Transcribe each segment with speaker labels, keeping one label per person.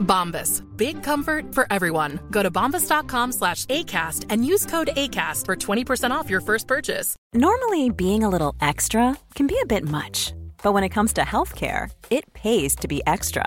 Speaker 1: Bombas. Big comfort for everyone. Go to bombas.com slash ACAST and use code ACAST for 20% off your first purchase.
Speaker 2: Normally, being a little extra can be a bit much, but when it comes to healthcare, it pays to be extra.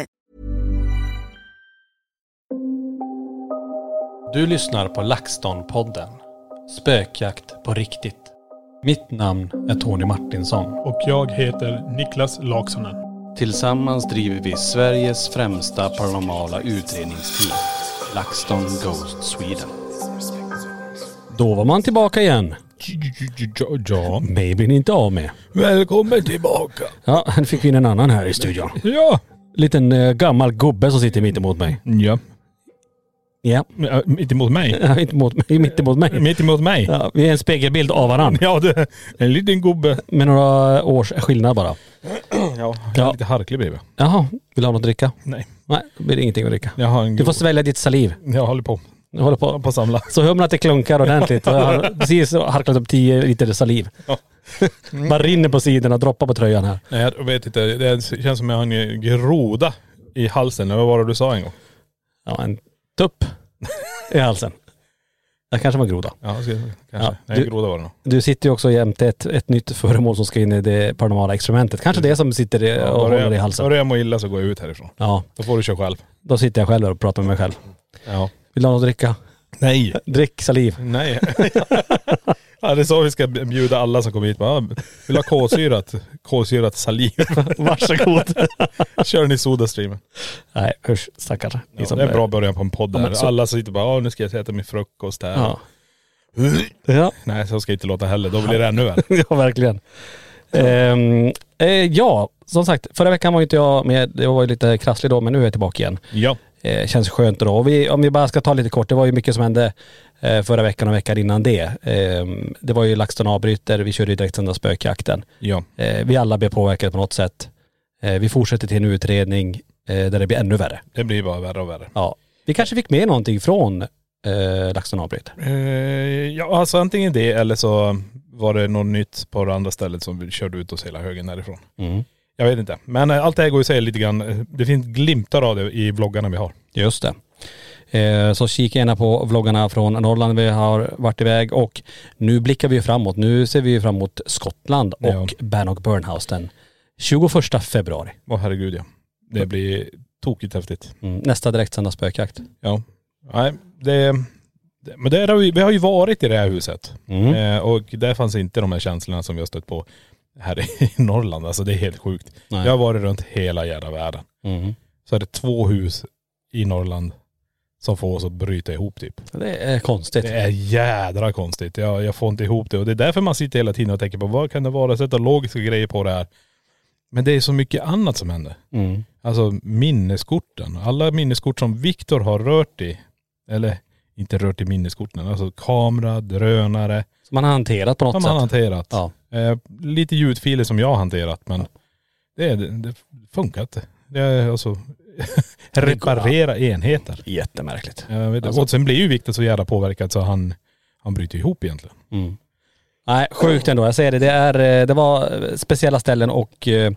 Speaker 3: Du lyssnar på LaxTon-podden. Spökjakt på riktigt. Mitt namn är Tony Martinsson.
Speaker 4: Och jag heter Niklas Laksonen.
Speaker 3: Tillsammans driver vi Sveriges främsta paranormala utredningsteam. LaxTon Ghost Sweden. Då var man tillbaka igen.
Speaker 4: Ja.
Speaker 3: Mig blir ni inte av med.
Speaker 4: Välkommen tillbaka.
Speaker 3: Ja, nu fick vi in en annan här i studion.
Speaker 4: Ja.
Speaker 3: Liten eh, gammal gubbe som sitter mitt emot mig.
Speaker 4: Ja.
Speaker 3: Ja,
Speaker 4: Ja, Mitt emot mig.
Speaker 3: inte mot mig, mitt emot mig.
Speaker 4: Mitt emot mig.
Speaker 3: Ja, vi är en spegelbild av varandra.
Speaker 4: Ja, det, en liten gubbe.
Speaker 3: Med några års skillnad bara.
Speaker 4: Ja.
Speaker 3: Ja.
Speaker 4: Lite harklig bredvid.
Speaker 3: Jaha, vill du ha något att dricka?
Speaker 4: Nej.
Speaker 3: Nej, då blir det ingenting att dricka.
Speaker 4: Jag har en
Speaker 3: Du får
Speaker 4: gubbe.
Speaker 3: svälja ditt saliv.
Speaker 4: Jag håller på.
Speaker 3: Jag håller
Speaker 4: Jag håller på
Speaker 3: på.
Speaker 4: att samla.
Speaker 3: Så humla att det klunkar ordentligt. Jag har precis harklat upp 10 liter saliv.
Speaker 4: Ja.
Speaker 3: Bara rinner på sidorna, droppar på tröjan här.
Speaker 4: Nej, jag vet inte. Det känns som jag har en groda i halsen. Vad var det du sa en gång?
Speaker 3: Ja, en tupp i halsen. Jag kanske var groda.
Speaker 4: Ja, ska, kanske.
Speaker 3: Ja,
Speaker 4: Nej,
Speaker 3: du-
Speaker 4: groda var det nog.
Speaker 3: Du sitter ju också jämte ett, ett nytt föremål som ska in i det paranormala experimentet. Kanske det som sitter i- och
Speaker 4: Börjar-
Speaker 3: håller i halsen.
Speaker 4: Börjar jag må illa så går jag ut härifrån.
Speaker 3: Ja,
Speaker 4: Då får du köra själv.
Speaker 3: då sitter jag själv här och pratar med mig själv.
Speaker 4: Ja.
Speaker 3: Vill du ha något att dricka?
Speaker 4: Nej.
Speaker 3: Drick saliv.
Speaker 4: Nej. ja, det är så vi ska bjuda alla som kommer hit. Bara, vill ha kolsyrat, kolsyrat saliv.
Speaker 3: Varsågod.
Speaker 4: Kör ni Sodastreamen.
Speaker 3: Nej usch stackars. Ni
Speaker 4: Ja,
Speaker 3: som
Speaker 4: det Liksom är en bra början på en podd.
Speaker 3: Ja,
Speaker 4: Där.
Speaker 3: men så-
Speaker 4: Alla sitter bara, "Ja, nu ska jag äta min frukost här.
Speaker 3: Ja. Ja,
Speaker 4: Nej, så ska jag inte låta heller. Då blir det ännu värre.
Speaker 3: ja verkligen. Ehm, eh, ja, som sagt, förra veckan var ju inte jag med. Jag var ju lite krasslig då, men nu är jag tillbaka igen.
Speaker 4: Ja.
Speaker 3: Eh, känns skönt då. Och vi, om vi bara ska ta lite kort, det var ju mycket som hände eh, förra veckan och veckan innan det. Ehm, det var ju LaxTon avbryter, vi körde ju direktsända spökjakten.
Speaker 4: Ja.
Speaker 3: Eh, vi alla blev påverkade på något sätt. Eh, vi fortsätter till en utredning eh, där det blir ännu värre.
Speaker 4: Det blir bara värre och värre.
Speaker 3: Ja. Vi kanske fick med någonting från eh, LaxTon avbryter.
Speaker 4: Eh, ja, alltså antingen det eller så var det något nytt på det andra stället som vi körde ut oss hela högen därifrån.
Speaker 3: Mm.
Speaker 4: Jag vet inte. Men eh, allt det här går ju att säga lite grann. Eh, Det finns glimtar av det i vloggarna vi har.
Speaker 3: Just det. Eh, Så kika gärna på vloggarna från Norrland vi har varit iväg och nu blickar vi ju framåt. Nu ser vi ju fram emot Skottland och
Speaker 4: Ja.
Speaker 3: Bannock Burnhouse den 21 februari.
Speaker 4: Åh herregud ja. Det blir tokigt häftigt.
Speaker 3: Mm. Nästa direktsända spökjakt.
Speaker 4: Ja. Nej, det, det, men där har vi, vi har ju varit i det här huset.
Speaker 3: Mm.
Speaker 4: Eh, och där fanns inte de här känslorna som vi har stött på här i Norrland. Alltså det är helt sjukt.
Speaker 3: Nej.
Speaker 4: Jag har varit runt hela jävla världen.
Speaker 3: Mm.
Speaker 4: Så är det två hus i Norrland som får oss att bryta ihop typ.
Speaker 3: Det är konstigt.
Speaker 4: Det är jädra konstigt. Jag, jag får inte ihop det. Och det är därför man sitter hela tiden och tänker på vad kan det vara? Sätta logiska grejer på det här. Men det är så mycket annat som händer.
Speaker 3: Mm.
Speaker 4: Alltså minneskorten. Alla minneskort som Viktor har rört i. Eller inte rört i minneskorten. Alltså kamera, drönare.
Speaker 3: Som man har hanterat på något
Speaker 4: Som han
Speaker 3: sätt.
Speaker 4: hanterat.
Speaker 3: Ja.
Speaker 4: Eh, lite ljudfiler som jag har hanterat men det, är- det, det funkar inte. Det är alltså reparera enheter.
Speaker 3: Jättemärkligt.
Speaker 4: Jag vet inte.
Speaker 3: Alltså-
Speaker 4: och sen blir ju Viktor så jävla påverkad så han, han bryter ihop egentligen.
Speaker 3: Mm. Nej, sjukt ändå. Jag säger det, det, är, eh, det var eh, speciella ställen och eh,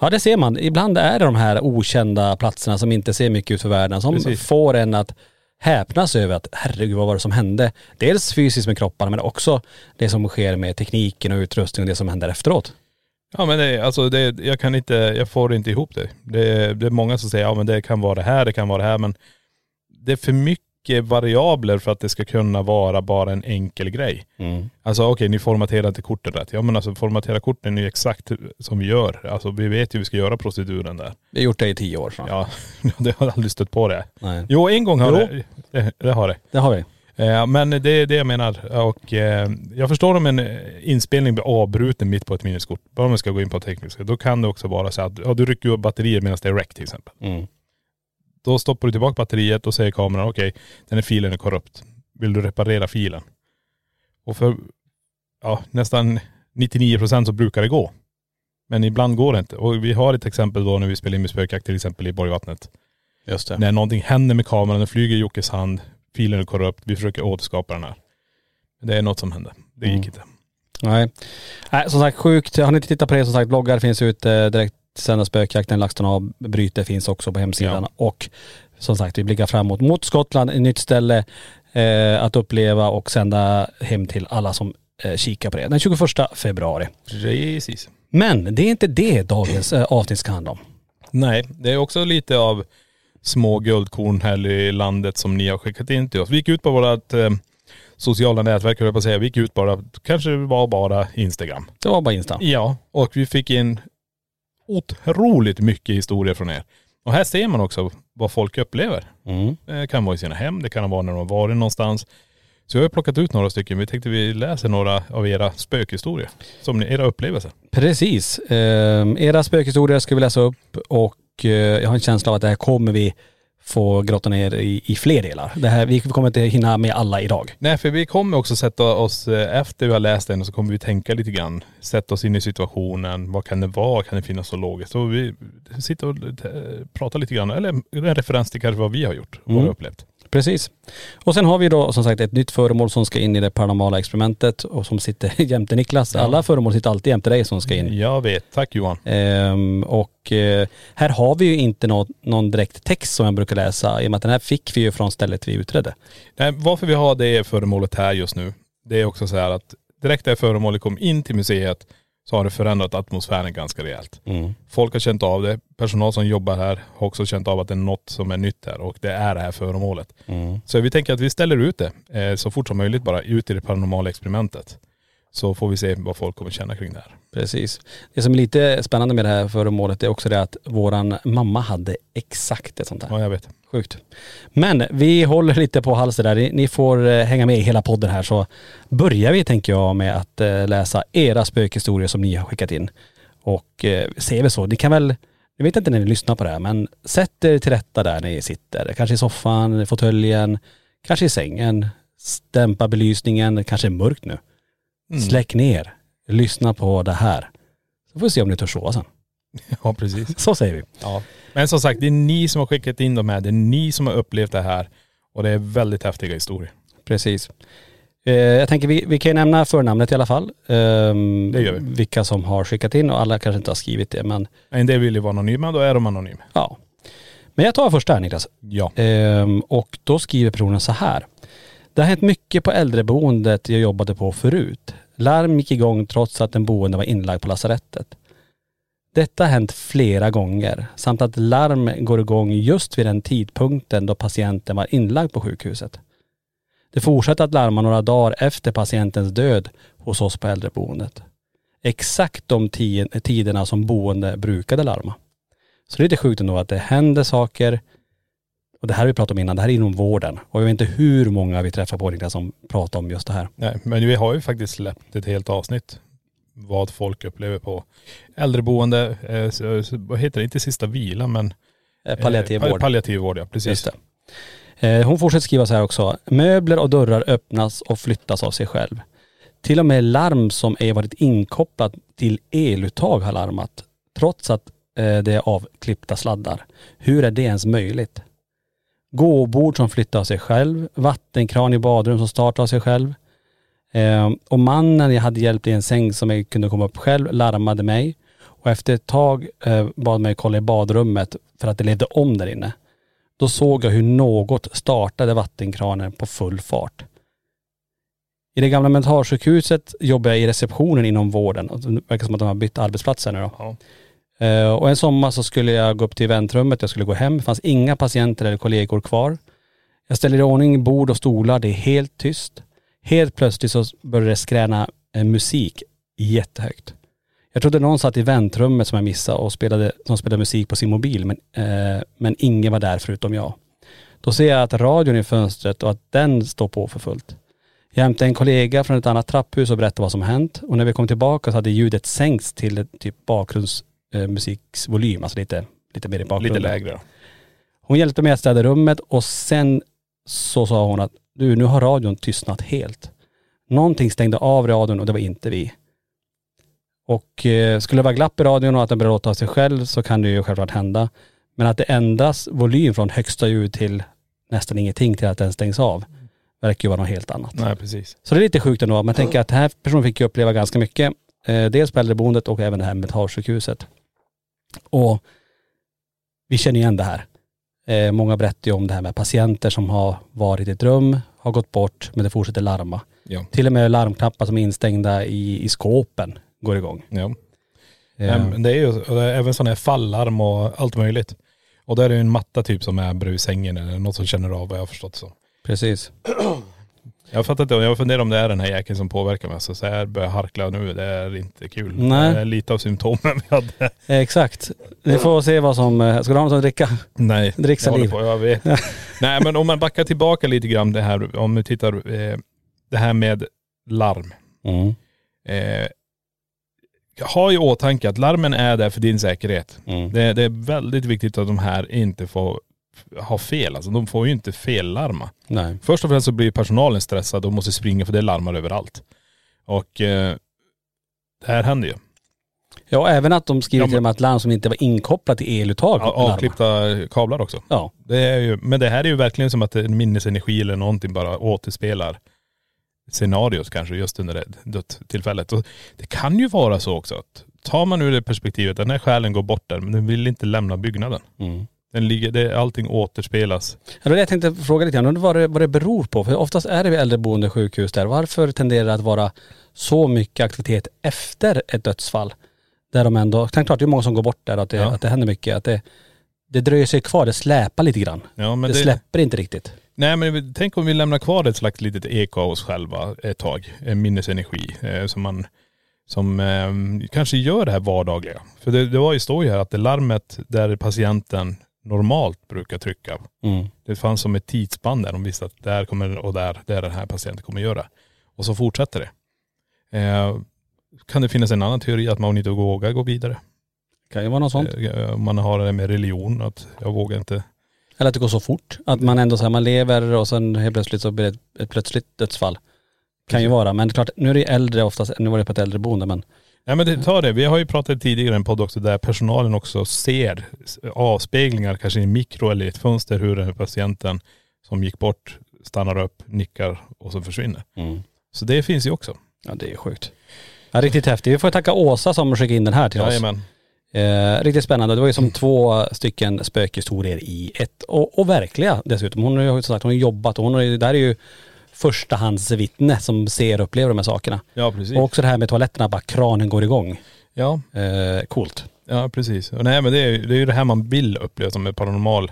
Speaker 3: ja det ser man. Ibland är det de här okända platserna som inte ser mycket ut för världen som
Speaker 4: Precis.
Speaker 3: får en att häpnas över att herregud vad var det som hände? Dels fysiskt med kropparna men också det som sker med tekniken och utrustningen och det som händer efteråt.
Speaker 4: Ja men det, alltså det, jag kan inte, jag får inte ihop det. det. Det är många som säger, ja men det kan vara det här, det kan vara det här, men det är för mycket variabler för att det ska kunna vara bara en enkel grej. Alltså okej, ni formaterar inte korten rätt. Ja men alltså formatera korten är ju exakt som vi gör. Alltså vi vet ju hur vi ska göra proceduren där.
Speaker 3: Vi har gjort det i tio år snart.
Speaker 4: Ja, det har jag aldrig stött på det.
Speaker 3: Nej.
Speaker 4: Jo, en gång har
Speaker 3: Jo.
Speaker 4: det. det. Det har det.
Speaker 3: Det har vi.
Speaker 4: Eh, Men det är det jag menar. Och eh, jag förstår om en eh, inspelning blir avbruten mitt på ett minneskort. Bara om vi ska gå in på tekniska. Då kan det också vara så att ja, du rycker upp batterier medan det är rec till exempel.
Speaker 3: Mm.
Speaker 4: Då stoppar du tillbaka batteriet och säger kameran okej, den här filen är korrupt. Vill du reparera filen? Och för ja, nästan 99 procent så brukar det gå. Men ibland går det inte. Och vi har ett exempel då när vi spelar in med spökjakt till exempel i Borgvattnet.
Speaker 3: Just det.
Speaker 4: När någonting händer med kameran, den flyger i Jockes hand, filen är korrupt, vi försöker återskapa den här. Det är något som hände. Det gick
Speaker 3: Mm.
Speaker 4: inte.
Speaker 3: Nej. Nej, som sagt sjukt. Har ni inte tittat på det, som sagt bloggar finns ute direkt sända spökjakten, LaxTon AB bryter finns också på hemsidan. Och som sagt, vi blickar framåt mot Skottland, ett nytt ställe eh, att uppleva och sända hem till alla som eh, kikar på det. Den 21 februari.
Speaker 4: Precis.
Speaker 3: Men det är inte det dagens eh, avsnitt ska handla om.
Speaker 4: Nej, det är också lite av små guldkorn här i landet som ni har skickat in till oss. Vi gick ut på vårt eh, sociala nätverk, höll jag på att säga. Vi gick ut bara, kanske det var bara Instagram.
Speaker 3: Det var bara Insta.
Speaker 4: Ja, och vi fick in otroligt mycket historier från er. Och här ser man också vad folk upplever.
Speaker 3: Mm.
Speaker 4: Det kan vara i sina hem, det kan vara när de har varit någonstans. Så jag har plockat ut några stycken. Vi tänkte vi läser några av era spökhistorier. Som ni, era upplevelser.
Speaker 3: Precis. Ehm, era spökhistorier ska vi läsa upp och eh, jag har en känsla av att det här kommer vi få grotta ner i, i fler delar. Det här, vi kommer inte hinna med alla idag.
Speaker 4: Nej för vi kommer också sätta oss, eh, efter vi har läst den så kommer vi tänka lite grann. Sätta oss in i situationen. Vad kan det vara? Kan det finnas så logiskt? Så vi sitter och eh, pratar lite grann. Eller en referens till kanske vad vi har gjort. Vad vi har
Speaker 3: Mm.
Speaker 4: upplevt.
Speaker 3: Precis. Och sen har vi då som sagt ett nytt föremål som ska in i det paranormala experimentet och som sitter jämte Niklas. Alla föremål sitter alltid jämte dig som ska in.
Speaker 4: Jag vet. Tack Johan.
Speaker 3: Ehm, och eh, här har vi ju inte nå- någon direkt text som jag brukar läsa i och med att den här fick vi ju från stället vi utredde.
Speaker 4: Nej, varför vi har det föremålet här just nu, det är också så här att direkt när föremålet kom in till museet så har det förändrat atmosfären ganska rejält. Folk har känt av det, personal som jobbar här har också känt av att det är något som är nytt här och det är det här föremålet. Så vi tänker att vi ställer ut det eh, så fort som möjligt bara ut i det paranormala experimentet. Så får vi se vad folk kommer känna kring det här.
Speaker 3: Precis. Det som är lite spännande med det här föremålet är också det att våran mamma hade exakt ett sånt här.
Speaker 4: Ja jag vet.
Speaker 3: Sjukt. Men vi håller lite på halsen där. Ni- Ni får eh, hänga med i hela podden här så börjar vi tänker jag med att eh, läsa era spökhistorier som ni har skickat in. Och eh, ser vi så, ni kan väl, jag vet inte när ni lyssnar på det här men sätt er till rätta där ni sitter. Kanske i soffan, i fåtöljen, kanske i sängen. Dämpa belysningen, det kanske är mörkt nu.
Speaker 4: Mm.
Speaker 3: Släck ner, lyssna på det här. Så får vi se om ni törs sova sen.
Speaker 4: Ja precis.
Speaker 3: Så säger vi.
Speaker 4: Ja. Men som sagt, det är ni som har skickat in de här. Det är ni som har upplevt det här. Och det är väldigt häftiga historier.
Speaker 3: Precis. Eh, jag tänker vi, vi kan ju nämna förnamnet i alla fall. Ehm,
Speaker 4: Det gör vi.
Speaker 3: Vilka som har skickat in och alla kanske inte har skrivit det men
Speaker 4: En del vill ju vara anonyma, då är de anonyma.
Speaker 3: ja. Men jag tar första här Niklas.
Speaker 4: Ja.
Speaker 3: Ehm, och då skriver personen så här. Det har hänt mycket på äldreboendet jag jobbade på förut. Larm gick igång trots att den boende var inlagd på lasarettet. Detta har hänt flera gånger samt att larm går igång just vid den tidpunkten då patienten var inlagd på sjukhuset. Det fortsatte att larma några dagar efter patientens död hos oss på äldreboendet. Exakt de ti- tiderna som boende brukade larma. Så det är lite sjukt ändå att det händer saker och det här har vi pratat om innan, det här är inom vården. Och jag vet inte hur många vi träffar på Niklas som pratar om just det här.
Speaker 4: Nej, men vi har ju faktiskt släppt ett helt avsnitt. Vad folk upplever på äldreboende, eh, så- så- vad heter det, inte sista vila men..
Speaker 3: Eh, Palliativ
Speaker 4: eh,
Speaker 3: vård.
Speaker 4: Palliativ vård ja,
Speaker 3: Just
Speaker 4: precis.
Speaker 3: det. Eh, Hon fortsätter skriva så här också. Möbler och dörrar öppnas och flyttas av sig själv. Till och med larm som är varit inkopplat till eluttag har larmat. Trots att eh, det är avklippta sladdar. Hur är det ens möjligt? Gåbord som flyttar av sig själv. Vattenkran i badrum som startar av sig själv. Eh, och mannen jag hade hjälpt i en säng som jag kunde komma upp själv larmade mig. Och efter ett tag eh, bad mig kolla i badrummet för att det levde om där inne. Då såg jag hur något startade vattenkranen på full fart. I det gamla mentalsjukhuset jobbar jag i receptionen inom vården. Och Det verkar som att de har bytt arbetsplatser nu då.
Speaker 4: Ja.
Speaker 3: Eh, Och en sommar så skulle jag gå upp till väntrummet, jag skulle gå hem. Det fanns inga patienter eller kollegor kvar. Jag ställer i ordning bord och stolar, det är helt tyst. Helt plötsligt så började det skräna eh, musik jättehögt. Jag trodde någon satt i väntrummet som jag missade och spelade, som spelade musik på sin mobil, men, eh, men ingen var där förutom jag. Då ser jag att radion är i fönstret och att den står på för fullt. Jag hämtade en kollega från ett annat trapphus och berättade vad som hänt. Och när vi kom tillbaka så hade ljudet sänkts till typ bakgrundsmusiksvolym, alltså lite, lite mer i
Speaker 4: Lite
Speaker 3: bakgrunden.
Speaker 4: lägre då.
Speaker 3: Hon hjälpte mig att städa rummet och sen så sa hon att du, nu har radion tystnat helt. Någonting stängde av radion och det var inte vi. Och eh, skulle det vara glapp i radion och att den börjar låta av sig själv så kan det ju självklart hända. Men att det ändras volym från högsta ljud till nästan ingenting till att den stängs av verkar ju vara något helt annat.
Speaker 4: Nej precis.
Speaker 3: Så det är lite sjukt ändå. Man tänker att den här personen fick ju uppleva ganska mycket. Eh, dels på äldreboendet och även det här mentalsjukhuset. Och vi känner igen det här. Eh, många berättar ju om det här med patienter som har varit i ett rum, har gått bort, men det fortsätter larma.
Speaker 4: Ja.
Speaker 3: Till och med larmknappar som är instängda i, i skåpen går igång.
Speaker 4: ja.
Speaker 3: Eh,
Speaker 4: Men Det är ju och det är även sådana här fallarm och allt möjligt. Och där är det ju en matta typ som är bredvid sängen eller något som känner av vad jag har förstått så.
Speaker 3: precis.
Speaker 4: Jag fattar inte, jag funderar om det är den här jäkeln som påverkar mig. Så, så här börjar jag harkla nu, det är inte kul.
Speaker 3: Nej.
Speaker 4: Det är lite av symptomen vi hade.
Speaker 3: Eh, exakt. Vi får se vad som, eh, ska du ha något att dricka?
Speaker 4: Nej,
Speaker 3: Drick
Speaker 4: jag håller
Speaker 3: saliv.
Speaker 4: på, jag vet. Nej men om man backar tillbaka lite grann det här, om vi tittar, eh, det här med larm.
Speaker 3: Mm.
Speaker 4: Eh, ha i åtanke att larmen är där för din säkerhet.
Speaker 3: Mm.
Speaker 4: Det, det är väldigt viktigt att de här inte får ha fel. Alltså de får ju inte fellarma.
Speaker 3: Nej.
Speaker 4: Först och främst så blir personalen stressad och måste springa för det larmar överallt. Och eh, det här händer ju.
Speaker 3: Ja, även att de skriver
Speaker 4: Ja, men-
Speaker 3: till och med att larm som inte var inkopplat till eluttag
Speaker 4: A-
Speaker 3: larmar.
Speaker 4: Avklippta kablar också.
Speaker 3: Ja.
Speaker 4: Det är ju, men det här är ju verkligen som att en minnesenergi eller någonting bara återspelar scenarios kanske just under det dött tillfället. Och det kan ju vara så också att tar man ur det perspektivet, den här själen går bort där men den vill inte lämna byggnaden.
Speaker 3: Mm.
Speaker 4: Den ligger, det, allting återspelas.
Speaker 3: Ja, det var det jag tänkte fråga lite grann, undrar vad det, vad det beror på. För oftast är det vid äldreboende och sjukhus där. Varför tenderar det att vara så mycket aktivitet efter ett dödsfall? Där de ändå, tänk klart det är många som går bort där och att det,
Speaker 4: Ja.
Speaker 3: att det händer mycket. Att det, det dröjer sig kvar, det släpar lite grann.
Speaker 4: Ja, men
Speaker 3: det,
Speaker 4: det-
Speaker 3: släpper inte riktigt.
Speaker 4: Nej men vi- tänk om vi lämnar kvar ett slags litet eko av oss själva ett tag. En minnesenergi eh, som man som eh, kanske gör det här vardagliga. För det, det var ju, står ju här att det larmet där patienten normalt brukar trycka
Speaker 3: Mm.
Speaker 4: Det fanns som ett tidsspann där de visste att där kommer och där, där den här patienten kommer göra. Och så fortsätter det. Eh, kan det finnas en annan teori att man inte vågar gå vidare?
Speaker 3: Kan ju vara något sånt.
Speaker 4: Eh, om man har det med religion, att jag vågar inte.
Speaker 3: Eller att det går så fort. Att man ändå så här, man lever och sen helt plötsligt så blir det ett, ett plötsligt dödsfall. Kan ju vara, men klart nu är det äldre oftast, nu var det på ett äldreboende men
Speaker 4: Nej men det, ta det, vi har ju pratat tidigare i en podd också där personalen också ser avspeglingar, kanske i mikro eller i ett fönster, hur den här patienten som gick bort stannar upp, nickar och så försvinner.
Speaker 3: Mm.
Speaker 4: Så det finns ju också.
Speaker 3: ja det är sjukt. Ja, riktigt häftigt. Vi får tacka Åsa som skickade in den här till oss.
Speaker 4: Jajamän.
Speaker 3: Eh, riktigt spännande. Det var ju som två stycken spökhistorier i ett. Och, och verkliga dessutom. Hon har ju som sagt hon har jobbat och hon har ju, det där är ju förstahandsvittne som ser och upplever de här sakerna.
Speaker 4: Ja precis.
Speaker 3: Och också det här med toaletterna, bara kranen går igång.
Speaker 4: ja.
Speaker 3: Eh, coolt.
Speaker 4: Ja precis. Och nej men det är, ju- det är ju det här man vill uppleva som en paranormal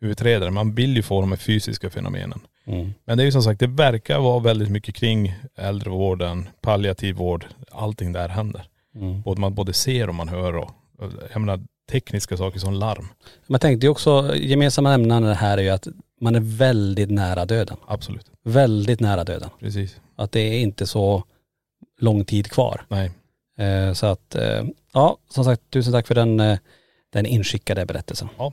Speaker 4: utredare. Man vill ju få de här fysiska fenomenen.
Speaker 3: Mm.
Speaker 4: Men det är ju som sagt, det verkar vara väldigt mycket kring äldrevården, palliativ vård, allting där händer.
Speaker 3: Mm.
Speaker 4: Både man både ser och man hör och, och jag menar tekniska saker som larm.
Speaker 3: Man tänkte ju också, gemensamma nämnaren här är ju att man är väldigt nära döden.
Speaker 4: Absolut.
Speaker 3: Väldigt nära döden.
Speaker 4: Precis.
Speaker 3: Att det är inte så lång tid kvar.
Speaker 4: Nej.
Speaker 3: Eh, så att, eh, ja som sagt tusen tack för den, eh, den inskickade berättelsen.
Speaker 4: Ja.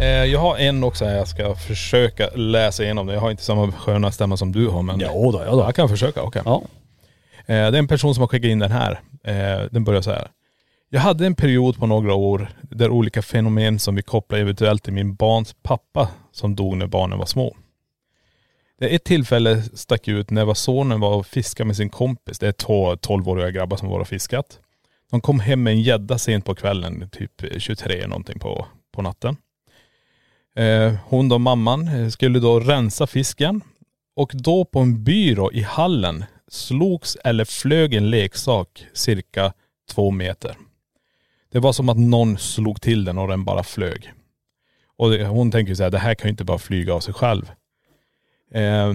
Speaker 4: Eh, jag har en också här jag ska försöka läsa igenom. det. Jag har inte samma sköna stämma som du har men
Speaker 3: Jo då, ja då.
Speaker 4: jag kan försöka. Okay.
Speaker 3: Ja.
Speaker 4: Eh, Det är en person som har skickat in den här. Eh, Den börjar så här. Jag hade en period på några år där olika fenomen som vi kopplar eventuellt till min barns pappa som dog när barnen var små. Det är ett tillfälle stack ut när var sonen var och fiskade med sin kompis. Det är två 12-åriga grabbar som var och fiskat. De kom hem med en gädda sent på kvällen, typ 23 någonting på, på natten. Eh, Hon då, mamman, eh, skulle då rensa fisken och då på en byrå i hallen slogs eller flög en leksak cirka två meter. Det var som att någon slog till den och den bara flög. Och det- hon tänker så här, det här kan ju inte bara flyga av sig själv. Eh,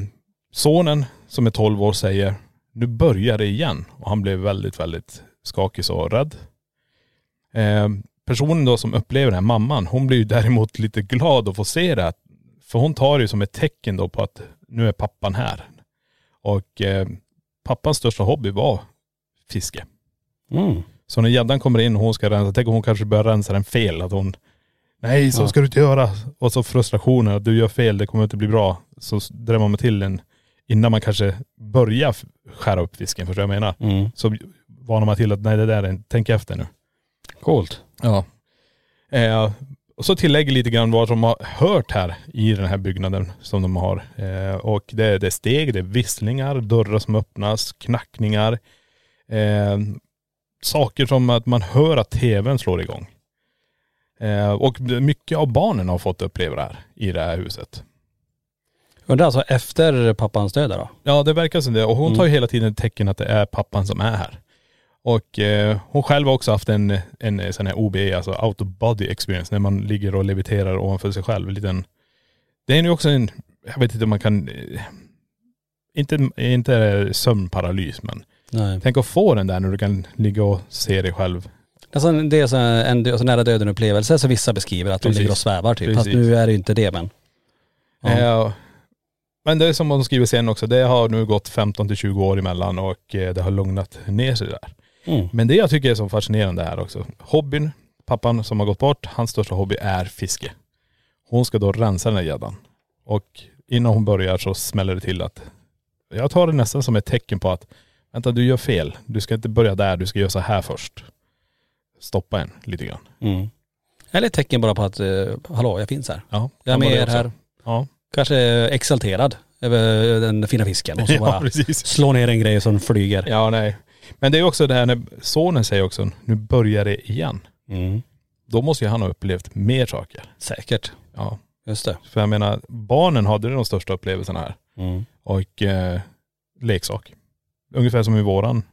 Speaker 4: sonen som är 12 år säger, nu börjar det igen. Och han blev väldigt, väldigt skakig och rädd. Eh, personen då som upplever det här, mamman, hon blir ju däremot lite glad att få se det. här. För hon tar det ju som ett tecken då på att nu är pappan här. Och eh, pappans största hobby var fiske.
Speaker 3: Mm.
Speaker 4: Så när gäddan kommer in och hon ska rensa, tänk om hon kanske börjar rensa den fel. Att hon, nej så ska du inte göra. Och så frustrationen att du gör fel, det kommer inte bli bra. Så s- drämmer man till den innan man kanske börjar f- skära upp fisken, förstår du vad jag menar?
Speaker 3: Mm.
Speaker 4: Så varnar man till att nej det där är en, tänk efter nu.
Speaker 3: Coolt.
Speaker 4: Ja. Eh, och så tillägger lite grann vad de har hört här i den här byggnaden som de har. Eh, och det är, det är steg, det är visslingar, dörrar som öppnas, knackningar. Eh, saker som att man hör att tvn slår igång. Eh, och mycket av barnen har fått uppleva det här i det här huset.
Speaker 3: Undrar alltså efter pappans död då?
Speaker 4: Ja det verkar som det. Och hon tar ju hela tiden tecken att det är pappan som är här. Och eh, hon själv har också haft en, en sån här OB, alltså out of body experience, när man ligger och leviterar ovanför sig själv. En liten, det är ju också en, jag vet inte om man kan, eh, inte, inte sömnparalys men
Speaker 3: Nej.
Speaker 4: tänk att få den där när du kan ligga och se dig själv.
Speaker 3: Alltså, det är så här en dö- så nära döden upplevelse som vissa beskriver att de
Speaker 4: Precis.
Speaker 3: ligger och svävar typ. Fast
Speaker 4: Precis.
Speaker 3: nu är det ju inte det men. Ja.
Speaker 4: Eh, men det är som de skriver sen också, det har nu gått 15 till 20 år emellan och eh, det har lugnat ner sig där.
Speaker 3: Mm.
Speaker 4: Men det jag tycker är så fascinerande här också. Hobbyn, pappan som har gått bort, hans största hobby är fiske. Hon ska då rensa den här gäddan. Och innan hon börjar så smäller det till att, jag tar det nästan som ett tecken på att, vänta du gör fel. Du ska inte börja där, du ska göra så här först. Stoppa en lite grann.
Speaker 3: Mm. Eller ett tecken bara på att, eh, hallå jag finns här.
Speaker 4: Ja,
Speaker 3: Jag är
Speaker 4: kan
Speaker 3: med
Speaker 4: vara det
Speaker 3: er
Speaker 4: också.
Speaker 3: här.
Speaker 4: Ja,
Speaker 3: Kanske exalterad över den fina fisken och så
Speaker 4: ja
Speaker 3: bara
Speaker 4: precis.
Speaker 3: slå ner en grej som flyger.
Speaker 4: Ja nej. Men det är också det här när sonen säger också, nu börjar det igen.
Speaker 3: Mm.
Speaker 4: Då måste ju han ha upplevt mer saker.
Speaker 3: Säkert.
Speaker 4: Ja.
Speaker 3: Just det.
Speaker 4: För jag menar, barnen hade de största upplevelserna här. och eh, leksak. Ungefär som i våran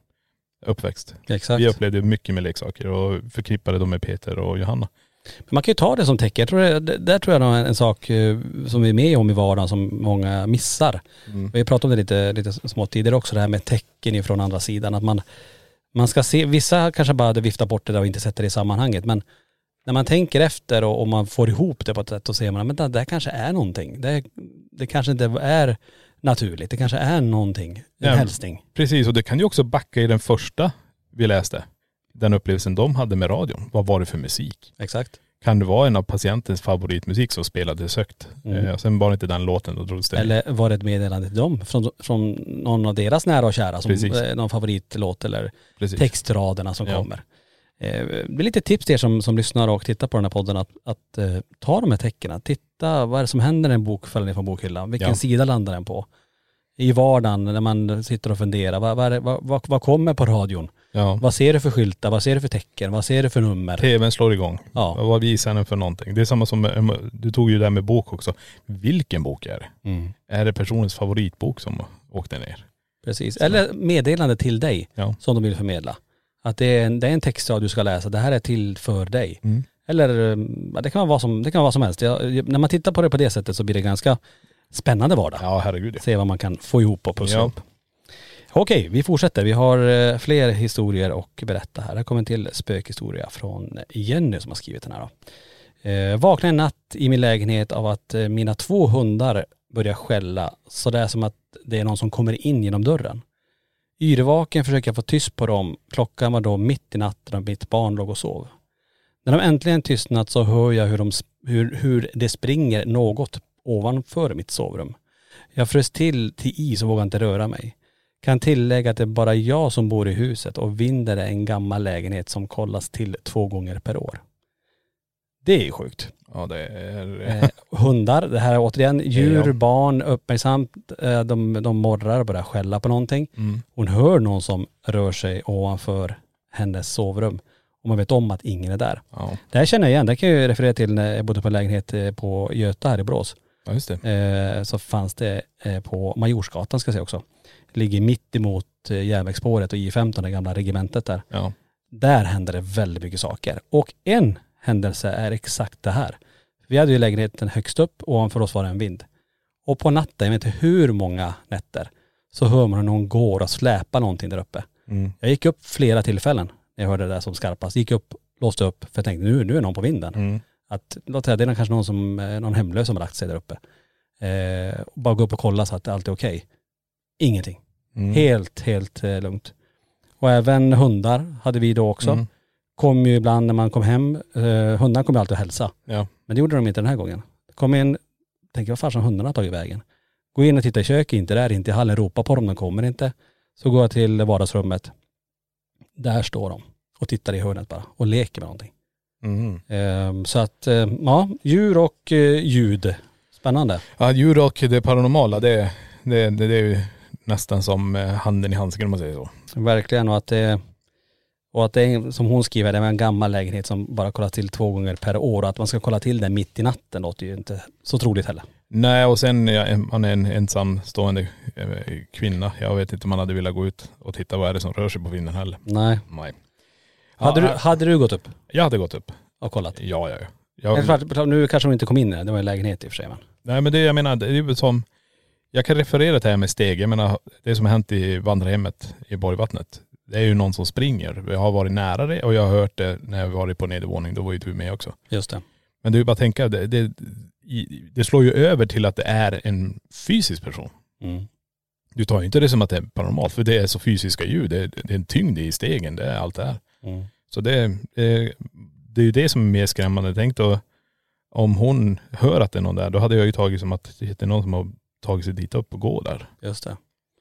Speaker 4: uppväxt.
Speaker 3: Exakt.
Speaker 4: Vi upplevde mycket med leksaker och förknippade dem med Peter och Johanna.
Speaker 3: Men man kan ju ta det som tecken. Jag tror det, det- där tror jag nog är en, en sak eh, som vi är med om i vardagen som många missar. Vi pratade om det lite, lite smått tidigare också, det här med tecken ifrån andra sidan. Att man, man ska se, vissa kanske bara hade viftat bort det där och inte sett det i sammanhanget. Men när man tänker efter och, och man får ihop det på ett sätt, då ser man att det där kanske är någonting. Det, det kanske inte är naturligt. Det kanske är någonting. En
Speaker 4: Ja.
Speaker 3: hälsning.
Speaker 4: Ehm, Precis, och det kan ju också backa i den första vi läste. Den upplevelsen de hade med radion. Vad var det för musik?
Speaker 3: Exakt.
Speaker 4: Kan det vara en av patientens favoritmusik som spelades högt?
Speaker 3: Mm.
Speaker 4: Eh, sen var det inte den låten, då drogs det ner.
Speaker 3: Eller var det ett meddelande till dem från, från någon av deras nära och kära, som
Speaker 4: Precis.
Speaker 3: eh, någon favoritlåt eller
Speaker 4: Precis.
Speaker 3: textraderna som
Speaker 4: Ja.
Speaker 3: kommer. Eh, det är lite tips till er som, som lyssnar och tittar på den här podden att, att eh, ta de här tecknen. Titta vad är det som händer när en bok faller ner från bokhyllan. Vilken
Speaker 4: Ja.
Speaker 3: sida landar den på? i vardagen när man sitter och funderar. Vad, vad, är det- vad, vad, vad kommer på radion?
Speaker 4: Ja.
Speaker 3: Vad ser du för skyltar? Vad ser du för tecken? Vad ser du för nummer?
Speaker 4: TVn slår igång.
Speaker 3: Ja.
Speaker 4: Vad- Vad visar den för någonting? Det är samma som, med- du tog ju det här med bok också. Vilken bok är det?
Speaker 3: Mm.
Speaker 4: Är det personens favoritbok som åkte ner?
Speaker 3: Precis. Eller meddelande till dig
Speaker 4: Ja.
Speaker 3: som de vill förmedla. Att det är en, det är en textrad du ska läsa. Det här är till för dig.
Speaker 4: Mm.
Speaker 3: Eller mm, ja, det kan vara vad som, det kan vara vad som helst. Jag, jag- när man tittar på det på det sättet så blir det ganska spännande vardag.
Speaker 4: Ja herregud.
Speaker 3: Se vad man kan få ihop och pussla
Speaker 4: Ja.
Speaker 3: upp. Okej, vi fortsätter. Vi har eh, fler historier och berätta här. Här kommer en till spökhistoria från Jenny som har skrivit den här. Då. Eh, vaknade en natt i min lägenhet av att eh, mina två hundar börjar skälla så det är som att det är någon som kommer in genom dörren. Yrvaken försöker jag få tyst på dem. Klockan var då mitt i natten och mitt barn låg och sov. När de äntligen tystnat så hör jag hur, de, sp- hur, hur det springer något ovanför mitt sovrum. Jag frös till till is och vågade inte röra mig. Kan tillägga att det är bara jag som bor i huset och vinden är en gammal lägenhet som kollas till två gånger per år. Det är ju sjukt.
Speaker 4: Ja det är..
Speaker 3: Eh, hundar, det här är återigen djur,
Speaker 4: Ja.
Speaker 3: barn, uppmärksamt. Eh, de, de morrar och börjar skälla på någonting. Hon hör någon som rör sig ovanför hennes sovrum. Och man vet om att ingen är där.
Speaker 4: Ja.
Speaker 3: Det här känner jag igen, det kan jag ju referera till när jag bodde på en lägenhet eh, på Göta här i Brås
Speaker 4: ja just det.
Speaker 3: eh, så fanns det eh, på Majorsgatan ska jag säga också. Ligger mitt emot eh, järnvägsspåret och I15, det gamla regementet där.
Speaker 4: Ja.
Speaker 3: Där hände det väldigt mycket saker. Och en händelse är exakt det här. Vi hade ju lägenheten högst upp, ovanför oss var det en vind. Och på natten, jag vet inte hur många nätter, så hör man hur någon går och släpar någonting där uppe.
Speaker 4: Mm.
Speaker 3: Jag gick upp flera tillfällen när jag hörde det där som skarpast. Gick upp, låste upp, för jag tänkte nu, nu är någon på vinden.
Speaker 4: Mm.
Speaker 3: Att, låt säga, det är kanske någon, som, eh, någon hemlös som har lagt sig där uppe. Eh, och bara gå upp och kolla så att allt är okej. Ingenting.
Speaker 4: Mm.
Speaker 3: Helt, helt eh, lugnt. Och även hundar hade vi då också.
Speaker 4: Mm.
Speaker 3: Kom ju ibland när man kom hem, eh, hundarna kom ju alltid och hälsa.
Speaker 4: Ja.
Speaker 3: Men det gjorde de inte den här gången. Kom in, tänker vad fan som hundarna har tagit vägen. Gå in och titta i köket, inte där, inte i hallen, ropa på dem, de kommer inte. Så går jag till vardagsrummet. Där står de och tittar i hörnet bara och leker med någonting.
Speaker 4: Mm.
Speaker 3: Ehm, Så att, eh, ja, djur och eh, ljud. Spännande.
Speaker 4: Ja djur och det paranormala det, det, det, det är ju nästan som eh, handen i handsken om man säger så.
Speaker 3: Verkligen. Och att det, och att det är, som hon skriver, det var en gammal lägenhet som bara kollas till två gånger per år. Och att man ska kolla till den mitt i natten låter ju inte så troligt heller.
Speaker 4: Nej och sen ja, en- man är en ensamstående eh, kvinna. Jag vet inte om man hade velat gå ut och titta vad är det som rör sig på vinden heller.
Speaker 3: Nej.
Speaker 4: Nej.
Speaker 3: Hade,
Speaker 4: Ja, eh,
Speaker 3: du, hade du gått upp
Speaker 4: Jag hade gått upp.
Speaker 3: och kollat?
Speaker 4: Ja, ja, ja.
Speaker 3: Eller
Speaker 4: Jag,
Speaker 3: klart, klart, nu kanske de inte kom in i den, det var en lägenhet i och för sig. Men.
Speaker 4: nej men det jag menar, det är ju som, jag kan referera till det här med steg. Jag menar det som har hänt i vandrarhemmet i Borgvattnet. Det är ju någon som springer. Jag har varit nära det och jag har hört det när jag varit på nedervåning. Då var ju du med också.
Speaker 3: Just det.
Speaker 4: Men det är ju bara att tänka, det, det, i- det slår ju över till att det är en fysisk person.
Speaker 3: Mm.
Speaker 4: Du tar ju inte det som att det är paranormalt, för det är så fysiska ljud. Det, det är en tyngd i stegen, det är allt det här.
Speaker 3: Mm.
Speaker 4: Så det, det, det är ju det som är mer skrämmande. Tänk då om hon hör att det är någon där, då hade jag ju tagit som att det är någon som har tagit sig dit upp och går där.
Speaker 3: Just det.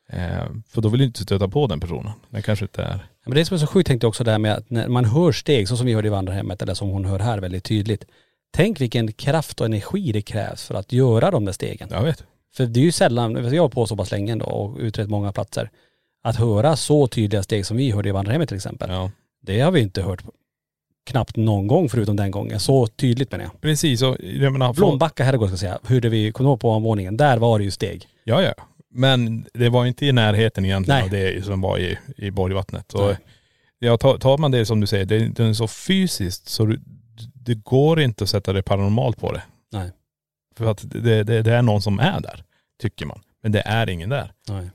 Speaker 4: Eh, för då vill du inte stöta på den personen. Den kanske inte är..
Speaker 3: Men det som är så sjukt tänkte jag också det här med att när man hör steg, så som vi hörde i vandrarhemmet, eller som hon hör här väldigt tydligt. Tänk vilken kraft och energi det krävs för att göra de där stegen.
Speaker 4: Jag vet.
Speaker 3: För det är ju sällan, jag har på så pass länge ändå och utrett många platser, att höra så tydliga steg som vi hörde i vandrarhemmet till exempel.
Speaker 4: Ja.
Speaker 3: Det har vi inte hört knappt någon gång förutom den gången. Så tydligt menar jag.
Speaker 4: Precis, och jag menar..
Speaker 3: Blombacka herrgård ska jag säga, hur det vi kom ihåg på ovanvåningen, där var det ju steg.
Speaker 4: Ja, ja. Men det var inte i närheten egentligen
Speaker 3: Nej.
Speaker 4: av det som var i, i Borgvattnet. Och
Speaker 3: Nej.
Speaker 4: ja, tar, tar man det som du säger, det, det är så fysiskt så du, det går inte att sätta det paranormalt på det.
Speaker 3: Nej.
Speaker 4: För att det, det, det är någon som är där, tycker man. Men det är ingen där.
Speaker 3: Nej.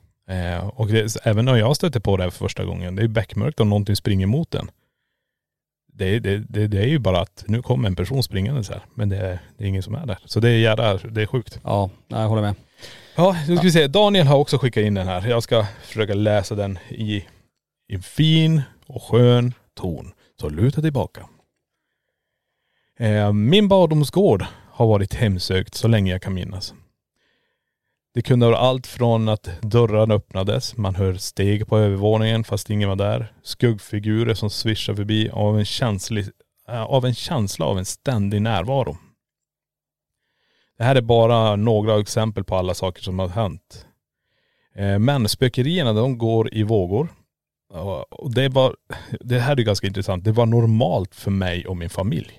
Speaker 4: Eh, och det, även när jag stötte på det här för första gången, det är beckmörkt om någonting springer mot den. Det, det, det, det är ju bara att nu kommer en person springande så här, men det, är- det är ingen som är där. Så det är jävla, det är sjukt.
Speaker 3: Ja, jag håller med.
Speaker 4: Ja, nu ska vi se. Daniel har också skickat in den här. Jag ska försöka läsa den i, i en fin och skön ton. Så luta tillbaka. Eh, min barndomsgård har varit hemsökt så länge jag kan minnas. Det kunde vara allt från att dörrarna öppnades, man hör steg på övervåningen fast ingen var där, skuggfigurer som svischar förbi av en, känslig, eh, av en känsla av en ständig närvaro. Det här är bara några exempel på alla saker som har hänt. Eh, Men spökerierna de går i vågor. Ja, Och det var, det här är ganska intressant, det var normalt för mig och min familj.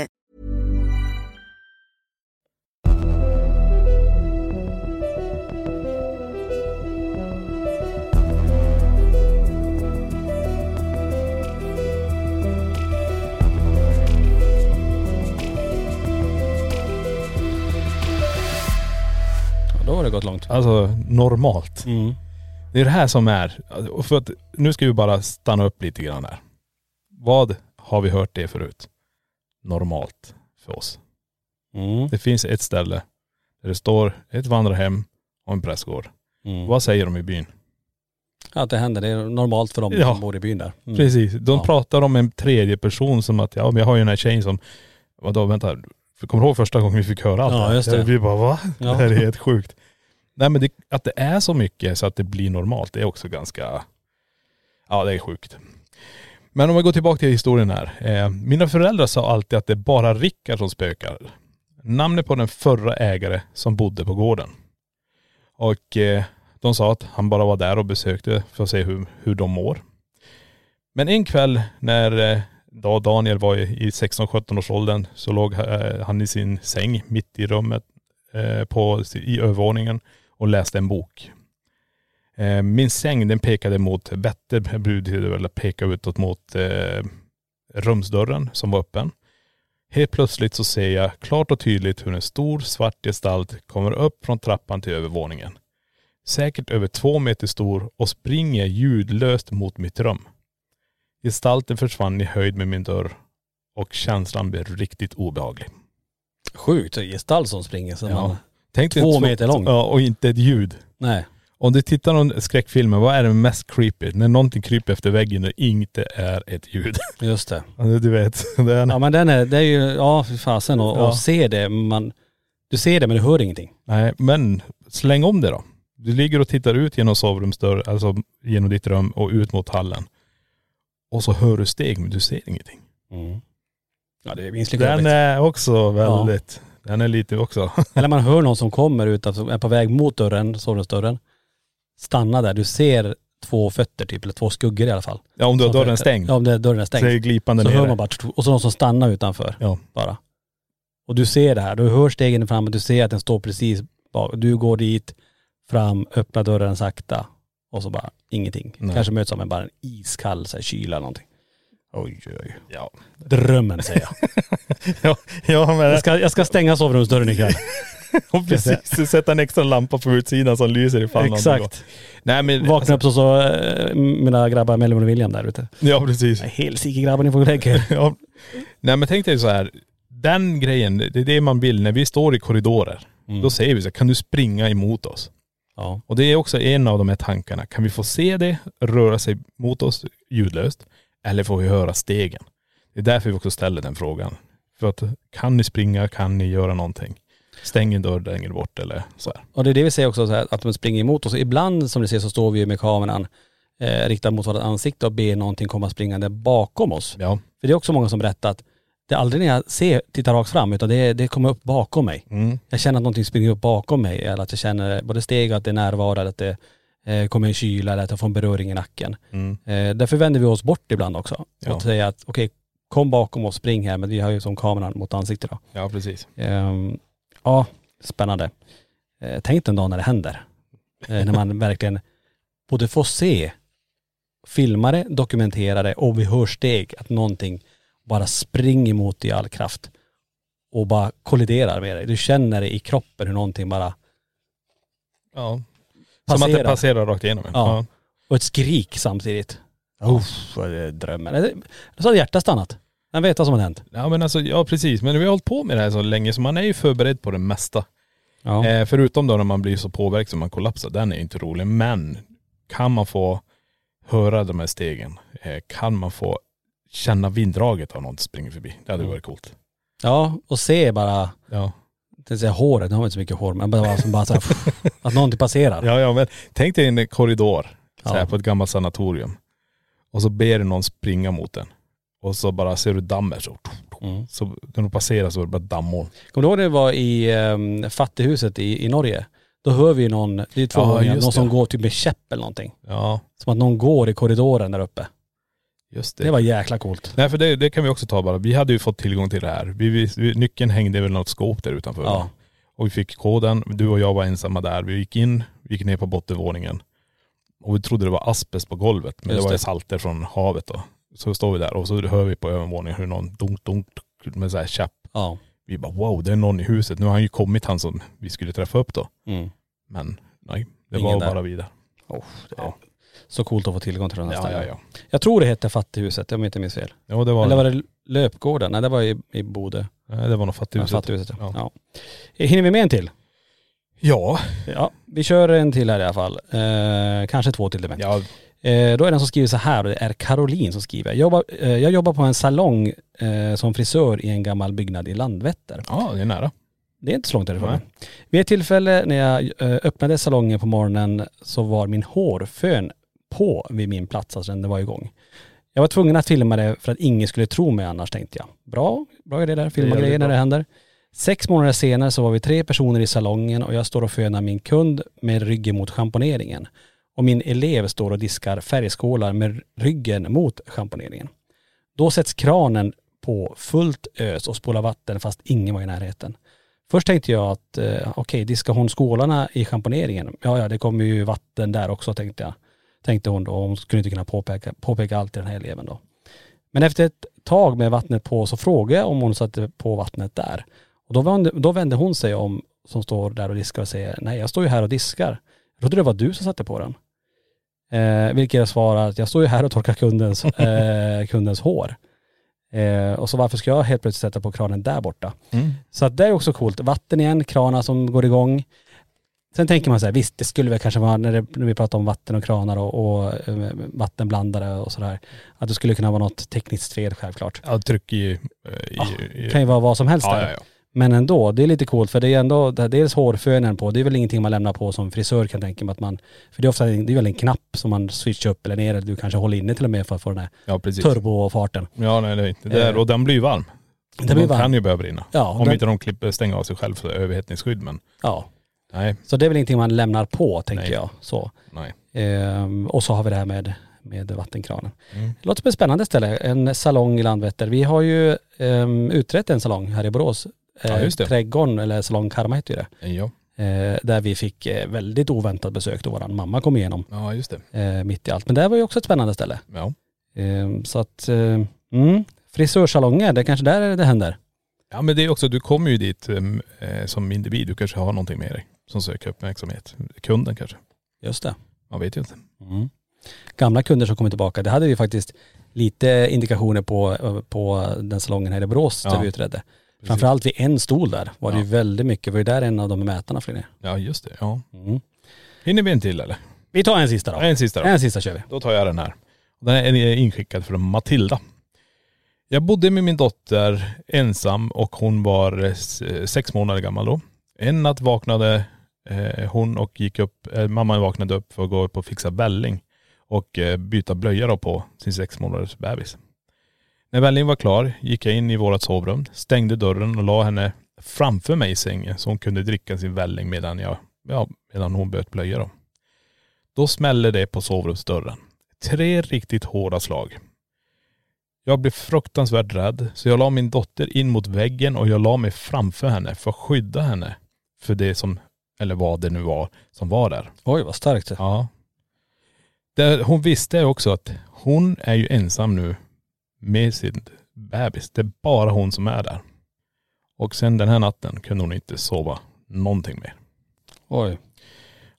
Speaker 3: Ja, då har det gått långt.
Speaker 4: Alltså normalt.
Speaker 3: Mm.
Speaker 4: Det är det här som är, och för att, nu ska vi bara stanna upp lite grann här. Vad har vi hört det förut? Normalt för oss.
Speaker 3: Mm.
Speaker 4: Det finns ett ställe där det står ett vandrarhem och en prästgård.
Speaker 3: Mm.
Speaker 4: Vad säger de i byn?
Speaker 3: Ja, att det händer. Det är normalt för dem
Speaker 4: Ja.
Speaker 3: som bor i byn där. Mm.
Speaker 4: Precis, de
Speaker 3: Ja.
Speaker 4: pratar om en tredje person som att, ja men jag har ju den här tjejen som, vadå vänta, för kommer du ihåg första gången vi fick höra allt
Speaker 3: Ja,
Speaker 4: här?
Speaker 3: just det.
Speaker 4: Vi bara va?
Speaker 3: Ja.
Speaker 4: Det här är helt sjukt. Nej men det, att det är så mycket så att det blir normalt, det är också ganska, ja det är sjukt. Men om vi går tillbaka till historien här. Eh, mina föräldrar sa alltid att det är bara Rickard som spökar. Namnet på den förra ägare som bodde på gården. Och eh, de sa att han bara var där och besökte för att se hur, hur de mår. Men en kväll när eh, då Daniel var i i 16-17 års åldern så låg eh, han i sin säng mitt i rummet eh, på, i övervåningen och läste en bok. Eh, Min säng den pekade mot Vätter brudhuvud, eller pekade utåt mot eh, rumsdörren som var öppen. Helt plötsligt så ser jag klart och tydligt hur en stor svart gestalt kommer upp från trappan till övervåningen. Säkert över två meter stor och springer ljudlöst mot mitt rum. Gestalten försvann i höjd med min dörr och känslan blev riktigt obehaglig.
Speaker 3: Sjukt, det är gestalt som springer. Så
Speaker 4: Ja.
Speaker 3: man,
Speaker 4: Tänk dig
Speaker 3: Två
Speaker 4: en tro-
Speaker 3: meter lång.
Speaker 4: Ja, och inte ett ljud.
Speaker 3: nej.
Speaker 4: Om du tittar på skräckfilmer, vad är det mest creepy? När någonting kryper efter väggen och inte är ett ljud.
Speaker 3: Just det.
Speaker 4: Alltså, du vet. Det är en...
Speaker 3: Ja men den är, det är ju, ja fy fasen och,
Speaker 4: Ja.
Speaker 3: och se det, man, du ser det men du hör ingenting.
Speaker 4: Nej, men släng om det då. Du ligger och tittar ut genom sovrumsdörren, alltså genom ditt rum och ut mot hallen. Och så hör du steg men du ser ingenting.
Speaker 3: Ja det är minst lika
Speaker 4: Mm. Den eh,
Speaker 3: jobbigt.
Speaker 4: är också väldigt, den är lite också.
Speaker 3: Eller man hör någon som kommer ut, alltså är på väg mot dörren, sovrumsdörren. Stanna där, du ser två fötter typ, eller två skuggor i alla fall.
Speaker 4: Ja om du har
Speaker 3: Som
Speaker 4: dörren
Speaker 3: fötter.
Speaker 4: stängd.
Speaker 3: Ja om det, dörren är
Speaker 4: så är det
Speaker 3: stängd.
Speaker 4: glipande
Speaker 3: Så
Speaker 4: nere.
Speaker 3: hör man bara, och så någon som stannar utanför
Speaker 4: Ja.
Speaker 3: bara. Och du ser det här, du hör stegen fram och du ser att den står precis bak. Du går dit, fram, öppnar dörren sakta och så bara ingenting.
Speaker 4: Nej.
Speaker 3: Kanske möts av en, bara en iskall så här, kyla eller någonting. Oj oj oj.
Speaker 4: Ja.
Speaker 3: Drömmen säger jag.
Speaker 4: ja, ja men
Speaker 3: Jag ska, jag ska stänga sovrumsdörren ikväll.
Speaker 4: och precis. Sätta en extra lampa på utsidan som lyser ifall någon går.
Speaker 3: Exakt.
Speaker 4: Nej men.
Speaker 3: Vakna upp så så eh, mina grabbar Melvin och William där ute.
Speaker 4: Ja precis.
Speaker 3: Nej, Helsike grabbar ni får gå och lägga er.
Speaker 4: Ja. Nej men tänk dig så här. Den grejen, det är det man vill. När vi står i korridorer, då säger vi så här, kan du springa emot oss?
Speaker 3: Ja.
Speaker 4: Och det är också en av de här tankarna. Kan vi få se det röra sig mot oss ljudlöst? Eller får vi höra stegen? Det är därför vi också ställer den frågan. För att kan ni springa, kan ni göra någonting? Stäng en dörr, dränger bort eller så här.
Speaker 3: Och det är det vi säger också, så här, att de springer emot oss. Ibland som ni ser så står vi ju med kameran eh, riktad mot vårt ansikte och ber någonting komma springande bakom oss.
Speaker 4: Ja.
Speaker 3: För det är också många som berättar att det är aldrig när jag ser, tittar rakt fram utan det, det kommer upp bakom mig.
Speaker 4: Mm.
Speaker 3: Jag känner att någonting springer upp bakom mig eller att jag känner både steg och att det är närvaro eller att det eh, kommer en kyla eller att jag får en beröring i nacken.
Speaker 4: Mm.
Speaker 3: Eh, därför vänder vi oss bort ibland också
Speaker 4: Ja.
Speaker 3: och säger att okej, kom bakom oss, spring här, men vi har ju som kameran mot ansiktet då.
Speaker 4: ja, precis.
Speaker 3: Ehm, ja, spännande. Eh, tänk den dag när det händer. Eh, när man verkligen både får se filmare, dokumenterare och vi hör steg att någonting bara springer emot i all kraft och bara kolliderar med dig. Du känner det i kroppen hur någonting bara,
Speaker 4: Ja. Som att det
Speaker 3: Passerar.
Speaker 4: passerar rakt igenom en.
Speaker 3: Ja. och ett skrik samtidigt. Uff, vad det är drömmen. Eller så hade hjärtat stannat. Man vet vad som har hänt.
Speaker 4: Ja men alltså, ja precis. Men vi har hållit på med det här så länge så man är ju förberedd på det mesta.
Speaker 3: Ja.
Speaker 4: Eh, förutom då när man blir så påverkad så man kollapsar, den är ju inte rolig. Men kan man få höra de här stegen, eh, kan man få känna vinddraget av någon som springer förbi. Det hade ju varit coolt.
Speaker 3: ja, och se bara,
Speaker 4: Ja.
Speaker 3: jag säga håret, nu har vi inte så mycket hår, men bara, som bara så här, att någonting passerar.
Speaker 4: ja, ja men tänk dig en korridor så här,
Speaker 3: Ja.
Speaker 4: på ett gammalt sanatorium. Och så ber du någon springa mot den. Och så bara ser du dammet så.
Speaker 3: Mm.
Speaker 4: Så när du passerar så är det bara dammoln.
Speaker 3: Kommer du ihåg när vi var i um, fattighuset i, i Norge? Då hör vi ju någon, det är två
Speaker 4: Ja,
Speaker 3: gånger,
Speaker 4: just
Speaker 3: någon som
Speaker 4: det.
Speaker 3: går typ med käpp eller någonting.
Speaker 4: Ja,
Speaker 3: Som att någon går i korridoren där uppe.
Speaker 4: just det.
Speaker 3: Det var jäkla coolt.
Speaker 4: Nej för det, det kan vi också ta bara. Vi hade ju fått tillgång till det här. Vi, vi, vi, nyckeln hängde väl något skåp där utanför.
Speaker 3: Ja.
Speaker 4: Och vi fick koden. Du och jag var ensamma där. Vi gick in, vi gick ner på bottenvåningen. Och vi trodde det var asbest på golvet. Men
Speaker 3: Just
Speaker 4: det var ju
Speaker 3: det.
Speaker 4: salter från havet då. Så står vi där och så hör vi på övervåningen hur någon dunk, dunk dunk med så här käpp.
Speaker 3: Ja.
Speaker 4: Vi bara wow, det är någon i huset. Nu har han ju kommit han som vi skulle träffa upp då.
Speaker 3: Mm.
Speaker 4: Men nej, det
Speaker 3: Ingen
Speaker 4: var
Speaker 3: där.
Speaker 4: bara vi där.
Speaker 3: Oh, det är
Speaker 4: Ja.
Speaker 3: Så coolt att få tillgång till den här
Speaker 4: Ja,
Speaker 3: ställen.
Speaker 4: ja, ja.
Speaker 3: Jag tror det hette fattighuset, om jag inte minns fel.
Speaker 4: Ja, det var,
Speaker 3: Eller var det löpgården? Nej det var i, i Bode.
Speaker 4: nej, det var nog
Speaker 3: Ja,
Speaker 4: fattighuset.
Speaker 3: Fattighuset ja.
Speaker 4: ja.
Speaker 3: ja. Hinner vi med en till?
Speaker 4: Ja.
Speaker 3: Ja, vi kör en till här i alla fall. Eh, kanske två till det med.
Speaker 4: ja,
Speaker 3: Eh, då är det en som skriver så här, och det är Caroline som skriver. Jag jobbar, eh, jag jobbar på en salong eh, som frisör i en gammal byggnad i Landvetter.
Speaker 4: ja, det är nära.
Speaker 3: Det är inte så långt därifrån.
Speaker 4: Nej.
Speaker 3: Vid ett tillfälle när jag eh, öppnade salongen på morgonen så var min hårfön på vid min plats, alltså den var igång. Jag var tvungen att filma det för att ingen skulle tro mig annars tänkte jag. Bra, bra idé där, filma
Speaker 4: Det är
Speaker 3: grejer när
Speaker 4: bra.
Speaker 3: det händer. Sex månader senare så var vi tre personer i salongen och jag står och fönar min kund med ryggen mot schamponeringen. Och min elev står och diskar färgskålar med ryggen mot schamponeringen. Då sätts kranen på fullt ös och spolar vatten fast ingen var i närheten. Först tänkte jag att eh, okej, diskar hon skålarna i schamponeringen? Ja, ja, det kommer ju vatten där också tänkte jag. Tänkte hon då, hon skulle inte kunna påpeka, påpeka allt till den här eleven då. Men efter ett tag med vattnet på så frågade jag om hon satte på vattnet där. Och då vände, då vände hon sig om som står där och diskar och säger nej jag står ju här och diskar. Jag trodde det var du som satte på den. Eh, vilket jag svarar att jag står ju här och torkar kundens, eh, kundens hår. Eh, och så varför ska jag helt plötsligt sätta på kranen där borta? Så att det är också coolt. Vatten igen, kranar som går igång. Sen tänker man så här, visst det skulle väl kanske vara, när, det, när vi pratar om vatten och kranar och, och eh, vattenblandare och sådär, att det skulle kunna vara något tekniskt fel självklart.
Speaker 4: Ja, tryck i... eh, i,
Speaker 3: Ja,
Speaker 4: i
Speaker 3: Det Ah, kan ju vara vad som helst
Speaker 4: ja,
Speaker 3: där.
Speaker 4: ja, ja.
Speaker 3: Men ändå, det är lite coolt för det är ändå, det- dels hårfönen på, det är väl ingenting man lämnar på som frisör kan jag tänka mig att man, för det är ofta, det är väl en knapp som man switchar upp eller ner, eller du kanske håller inne till och med för att få den här
Speaker 4: ja precis.
Speaker 3: turbofarten.
Speaker 4: Ja, nej, det är inte. Det är,
Speaker 3: Eh,
Speaker 4: och den blir ju varm.
Speaker 3: Den blir
Speaker 4: Den kan
Speaker 3: varm.
Speaker 4: ju börja brinna.
Speaker 3: Ja,
Speaker 4: Om
Speaker 3: den-
Speaker 4: inte de klipper, stänger av sig själv för överhettningsskydd. Men
Speaker 3: Ja,
Speaker 4: nej,
Speaker 3: så det är väl ingenting man lämnar på tänker
Speaker 4: Nej.
Speaker 3: jag. Så.
Speaker 4: nej.
Speaker 3: Ehm, och så har vi det här med, med vattenkranen.
Speaker 4: Mm.
Speaker 3: Det låter som ett spännande ställe, en salong i Landvetter. Vi har ju ehm, utrett en salong här i Borås.
Speaker 4: Ja,
Speaker 3: Eh,
Speaker 4: just det.
Speaker 3: Trädgården, eller Salong Karma heter ju det.
Speaker 4: Ja,
Speaker 3: Eh, där vi fick eh, väldigt oväntat besök då våran mamma kom igenom
Speaker 4: ja just det.
Speaker 3: eh, mitt i allt. Men det var ju också ett spännande ställe.
Speaker 4: Ja.
Speaker 3: Ehm, så att, eh, mm, frisörsalonger, det är kanske där det händer.
Speaker 4: ja, men det är också, du kommer ju dit em, eh, som individ. Du kanske har någonting med dig som söker uppmärksamhet. Kunden kanske.
Speaker 3: Just det.
Speaker 4: Man vet ju inte.
Speaker 3: Mm. Gamla kunder som kommer tillbaka, det hade vi faktiskt lite indikationer på, eh, på den salongen här i Borås där
Speaker 4: Ja.
Speaker 3: vi utredde. Framförallt vid en stol där var det ju
Speaker 4: Ja.
Speaker 3: väldigt mycket, det var ju där en av de mätarna flög ner.
Speaker 4: Ja, just det. Ja.
Speaker 3: Mm.
Speaker 4: Hinner vi en till eller?
Speaker 3: Vi tar en sista då.
Speaker 4: En sista då.
Speaker 3: En sista kör vi.
Speaker 4: Då tar jag den här. Och Den är inskickad från Matilda. Jag bodde med min dotter ensam och hon var eh, s- sex månader gammal då. En natt vaknade eh, hon och gick upp, eh, mamman vaknade upp för att gå upp och fixa välling och eh, byta blöja då på sin sex månaders bebis. När vällingen var klar gick jag in i vårt sovrum, stängde dörren och la henne framför mig i sängen så hon kunde dricka sin välling medan, jag, ja, medan hon böt blöja då. Då smällde det på sovrumsdörren. Tre riktigt hårda slag. Jag blev fruktansvärt rädd så jag la min dotter in mot väggen och jag la mig framför henne för att skydda henne för det som, eller vad det nu var, som var där.
Speaker 3: Oj vad starkt.
Speaker 4: Ja. Det, hon visste också att hon är ju ensam nu med sin bebis. Det är bara hon som är där. Och sen den här natten kunde hon inte sova någonting mer.
Speaker 3: Oj.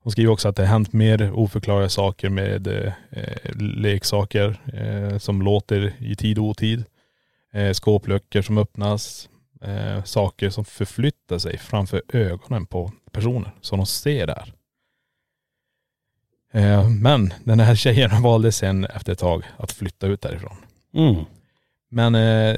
Speaker 4: Hon skriver också att det har hänt mer oförklarliga saker med eh, eh, leksaker eh, som låter i tid och otid. Eh, skåpluckor som öppnas. Eh, saker som förflyttar sig framför ögonen på personer som de ser där. Eh, men den här tjejen valde sen efter ett tag att flytta ut därifrån.
Speaker 3: Mm.
Speaker 4: Men eh,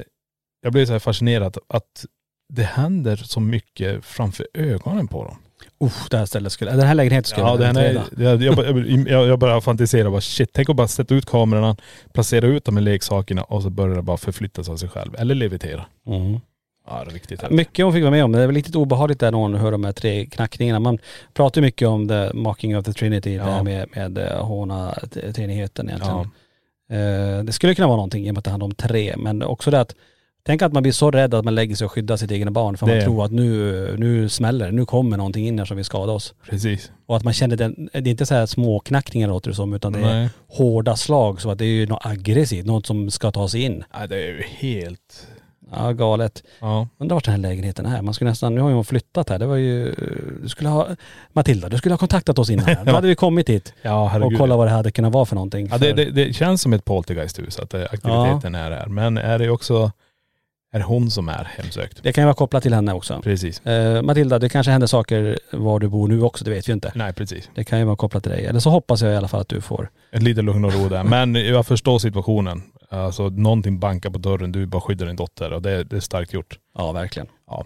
Speaker 4: jag blev så här fascinerad att det händer så mycket framför ögonen på dem.
Speaker 3: Usch, det här stället skulle, den här lägenheten skulle
Speaker 4: Ja,
Speaker 3: jag
Speaker 4: den är,
Speaker 3: utreda.
Speaker 4: jag, jag, bara- jag, jag börjar fantisera bara shit, tänk att bara sätta ut kamerorna, placera ut de här leksakerna och så börjar det bara förflyttas av sig själv. Eller levitera.
Speaker 3: Mm.
Speaker 4: Ja, det är riktigt häftigt.
Speaker 3: Mycket hon fick vara med om. Det är väl riktigt obehagligt där när hon hör de här tre knackningarna. Man pratar ju mycket om the mocking of the trinity, det här
Speaker 4: Ja.
Speaker 3: med, med eh, håna t- treenigheten egentligen.
Speaker 4: Ja.
Speaker 3: Eh, Det skulle kunna vara någonting i och med att det handlar om tre, men också det att Tänk att man blir så rädd att man lägger sig och skyddar sitt egna barn för
Speaker 4: Det-
Speaker 3: man tror att nu, nu smäller det. nu kommer någonting in här som vill skada oss.
Speaker 4: Precis.
Speaker 3: Och att man känner den, det är inte så här småknackningar låter det som utan det är
Speaker 4: Nej.
Speaker 3: hårda slag så att det är ju något aggressivt, något som ska ta sig in.
Speaker 4: Ja, det är ju helt..
Speaker 3: Ja, galet.
Speaker 4: Ja.
Speaker 3: Undrar vart den här lägenheten är. Man skulle nästan, nu har ju hon flyttat här. Det var ju, du skulle ha, Matilda, du skulle ha kontaktat oss innan. Då hade vi kommit hit
Speaker 4: Ja,
Speaker 3: och
Speaker 4: herregud.
Speaker 3: kollat vad det hade kunnat vara för någonting.
Speaker 4: Ja, det,
Speaker 3: För-
Speaker 4: det, det känns som ett poltergeisthus att eh, aktiviteten är här. Men är det också, är det hon som är hemsökt?
Speaker 3: det kan ju vara kopplat till henne också.
Speaker 4: Precis.
Speaker 3: Eh, Matilda, det kanske händer saker var du bor nu också, det vet vi inte.
Speaker 4: Nej, precis.
Speaker 3: Det kan ju vara kopplat till dig. Eller så hoppas jag i alla fall att du får.
Speaker 4: Ett litet lugn och ro där. Men jag förstår situationen. Alltså någonting bankar på dörren, du bara skyddar din dotter och det, det är starkt gjort.
Speaker 3: Ja, verkligen.
Speaker 4: Ja.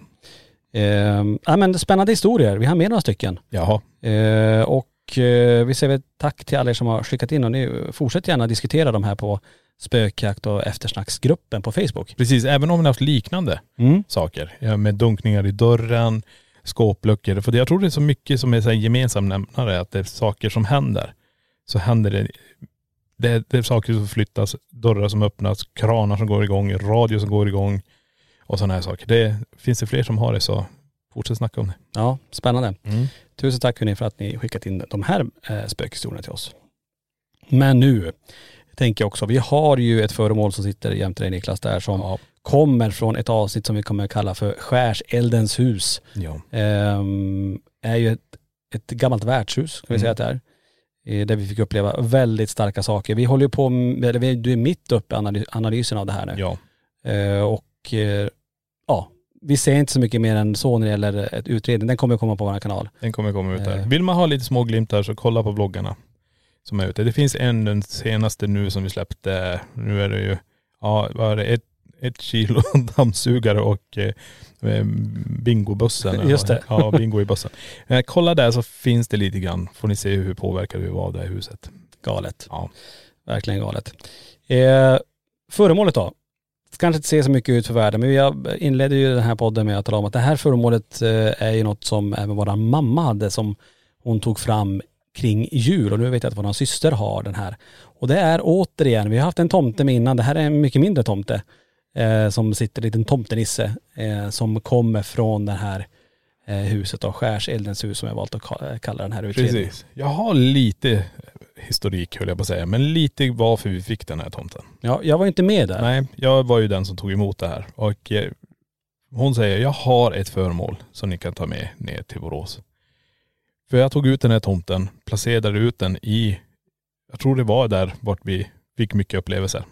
Speaker 3: Eh, ja, men spännande historier. Vi har med några stycken.
Speaker 4: Jaha.
Speaker 3: Eh, och eh, vi säger väl tack till alla er som har skickat in och ni fortsätt gärna diskutera de här på spökjakt och eftersnacksgruppen på Facebook.
Speaker 4: Precis, även om vi har haft liknande saker. Ja, Med dunkningar i dörren, skåpluckor. För jag tror det är så mycket som är så här gemensam nämnare, att det är saker som händer. Så händer det, det, är- det är saker som flyttas, dörrar som öppnas, kranar som går igång, radio som går igång och sådana här saker. Det, finns det fler som har det så fortsätt snacka om det.
Speaker 3: Ja, spännande. Tusen tack hörni för att ni skickat in de här eh, spökhistorierna till oss. Men nu tänker jag också, vi har ju ett föremål som sitter jämte dig Niklas där som kommer från ett avsnitt som vi kommer att kalla för Skärseldens hus.
Speaker 4: Ja.
Speaker 3: Ehm, är ju ett, ett gammalt värdshus, kan vi säga att det är. Eh, Där vi fick uppleva väldigt starka saker. Vi håller ju på, med, eller vi- du är mitt uppe i analy- analysen av det här nu.
Speaker 4: Ja.
Speaker 3: Eh, och eh, ja, vi säger inte så mycket mer än så när det gäller ett utredning. Den kommer komma på vår kanal.
Speaker 4: Den kommer komma ut där.
Speaker 3: Eh.
Speaker 4: Vill man ha lite små glimtar så kolla på bloggarna som är ute. Det finns en, den senaste nu som vi släppte. Nu är det ju, ja vad är det, ett, ett kilo dammsugare och eh, bingobussen.
Speaker 3: Just det.
Speaker 4: Ja, bingo i bussen. Eh, kolla där så finns det lite grann. Får ni se hur påverkade vi var av det här huset.
Speaker 3: Galet.
Speaker 4: Ja.
Speaker 3: Verkligen galet. Eh, föremålet då. Det kanske inte ser så mycket ut för världen, men jag inledde ju den här podden med att tala om att det här föremålet eh, är ju något som även våran mamma hade som hon tog fram kring jul och nu vet jag att våran syster har den här. Och det är återigen, vi har haft en tomte med innan, det här är en mycket mindre tomte eh, som sitter, en liten tomtenisse eh, som kommer från det här eh, huset då, Skärseldens hus som jag valt att ka- kalla den här utredningen.
Speaker 4: Precis. Jag har lite historik höll jag på att säga, men lite varför vi fick den här tomten.
Speaker 3: Ja, jag var ju inte med där.
Speaker 4: Nej, jag var ju den som tog emot det här. Och eh, hon säger, jag har ett föremål som ni kan ta med ner till Borås. För jag tog ut den här tomten, placerade ut den i, jag tror det var där vart vi fick mycket upplevelser.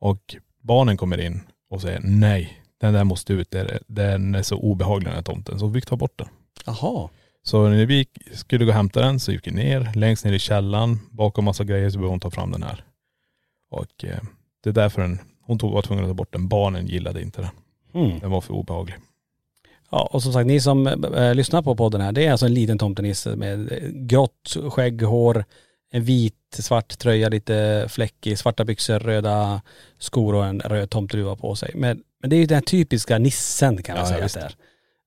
Speaker 4: Och barnen kommer in och säger, nej, den där måste ut, Det är- den är så obehaglig den här tomten, så vi fick ta bort den.
Speaker 3: Jaha.
Speaker 4: Så när vi skulle gå och hämta den så gick vi ner, längst ner i källaren, bakom massa grejer så behövde hon ta fram den här. Och eh, det är därför den, hon tog, var tvungen att ta bort den. Barnen gillade inte den.
Speaker 3: Mm.
Speaker 4: Den var för obehaglig.
Speaker 3: Ja, och som sagt, ni som eh, lyssnar på podden här, det är alltså en liten tomtenisse med eh, grått skägg, hår, en vit, svart tröja, lite fläckig, svarta byxor, röda skor och en röd tomteluva på sig. Men, men det är ju den här typiska nissen kan man
Speaker 4: Ja,
Speaker 3: säga
Speaker 4: ja,
Speaker 3: att det är.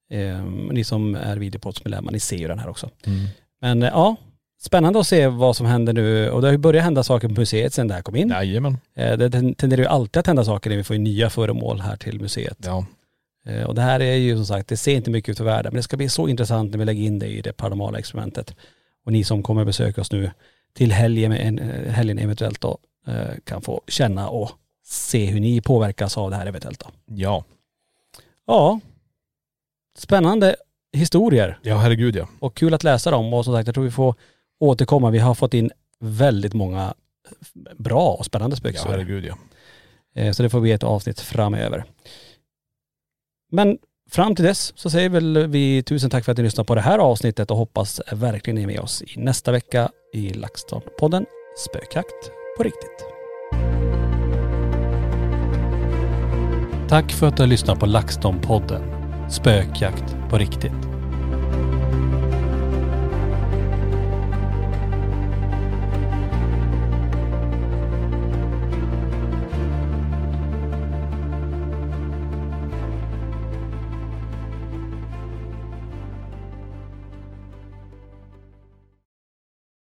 Speaker 3: Ehm, ni som är videopoddsmedlemmar, ni ser ju den här också.
Speaker 4: Mm.
Speaker 3: Men eh, ja, spännande att se vad som händer nu. Och det har ju börjat hända saker på museet sedan det här kom in.
Speaker 4: Jajamän.
Speaker 3: Eh, Det ten- tenderar ju alltid att hända saker när vi får ju nya föremål här till museet.
Speaker 4: Ja.
Speaker 3: Eh, Och det här är ju som sagt, det ser inte mycket ut för världen, men det ska bli så intressant när vi lägger in det i det paranormala experimentet. Och ni som kommer besöka oss nu till helgen, med en, eh, helgen eventuellt då, eh, kan få känna och se hur ni påverkas av det här eventuellt då.
Speaker 4: Ja.
Speaker 3: Ja, spännande historier
Speaker 4: Ja herregud ja.
Speaker 3: och kul att läsa dem och som sagt jag tror vi får återkomma. Vi har fått in väldigt många bra och spännande
Speaker 4: Ja
Speaker 3: spökhistorier.
Speaker 4: herregud ja.
Speaker 3: Eh, Så det får bli ett avsnitt framöver. Men fram till dess så säger väl vi tusen tack för att ni lyssnar på det här avsnittet och hoppas verkligen ni är med oss i nästa vecka i LaxTon-podden Spökjakt på riktigt. Tack för att du har lyssnat på LaxTon-podden Spökjakt på riktigt.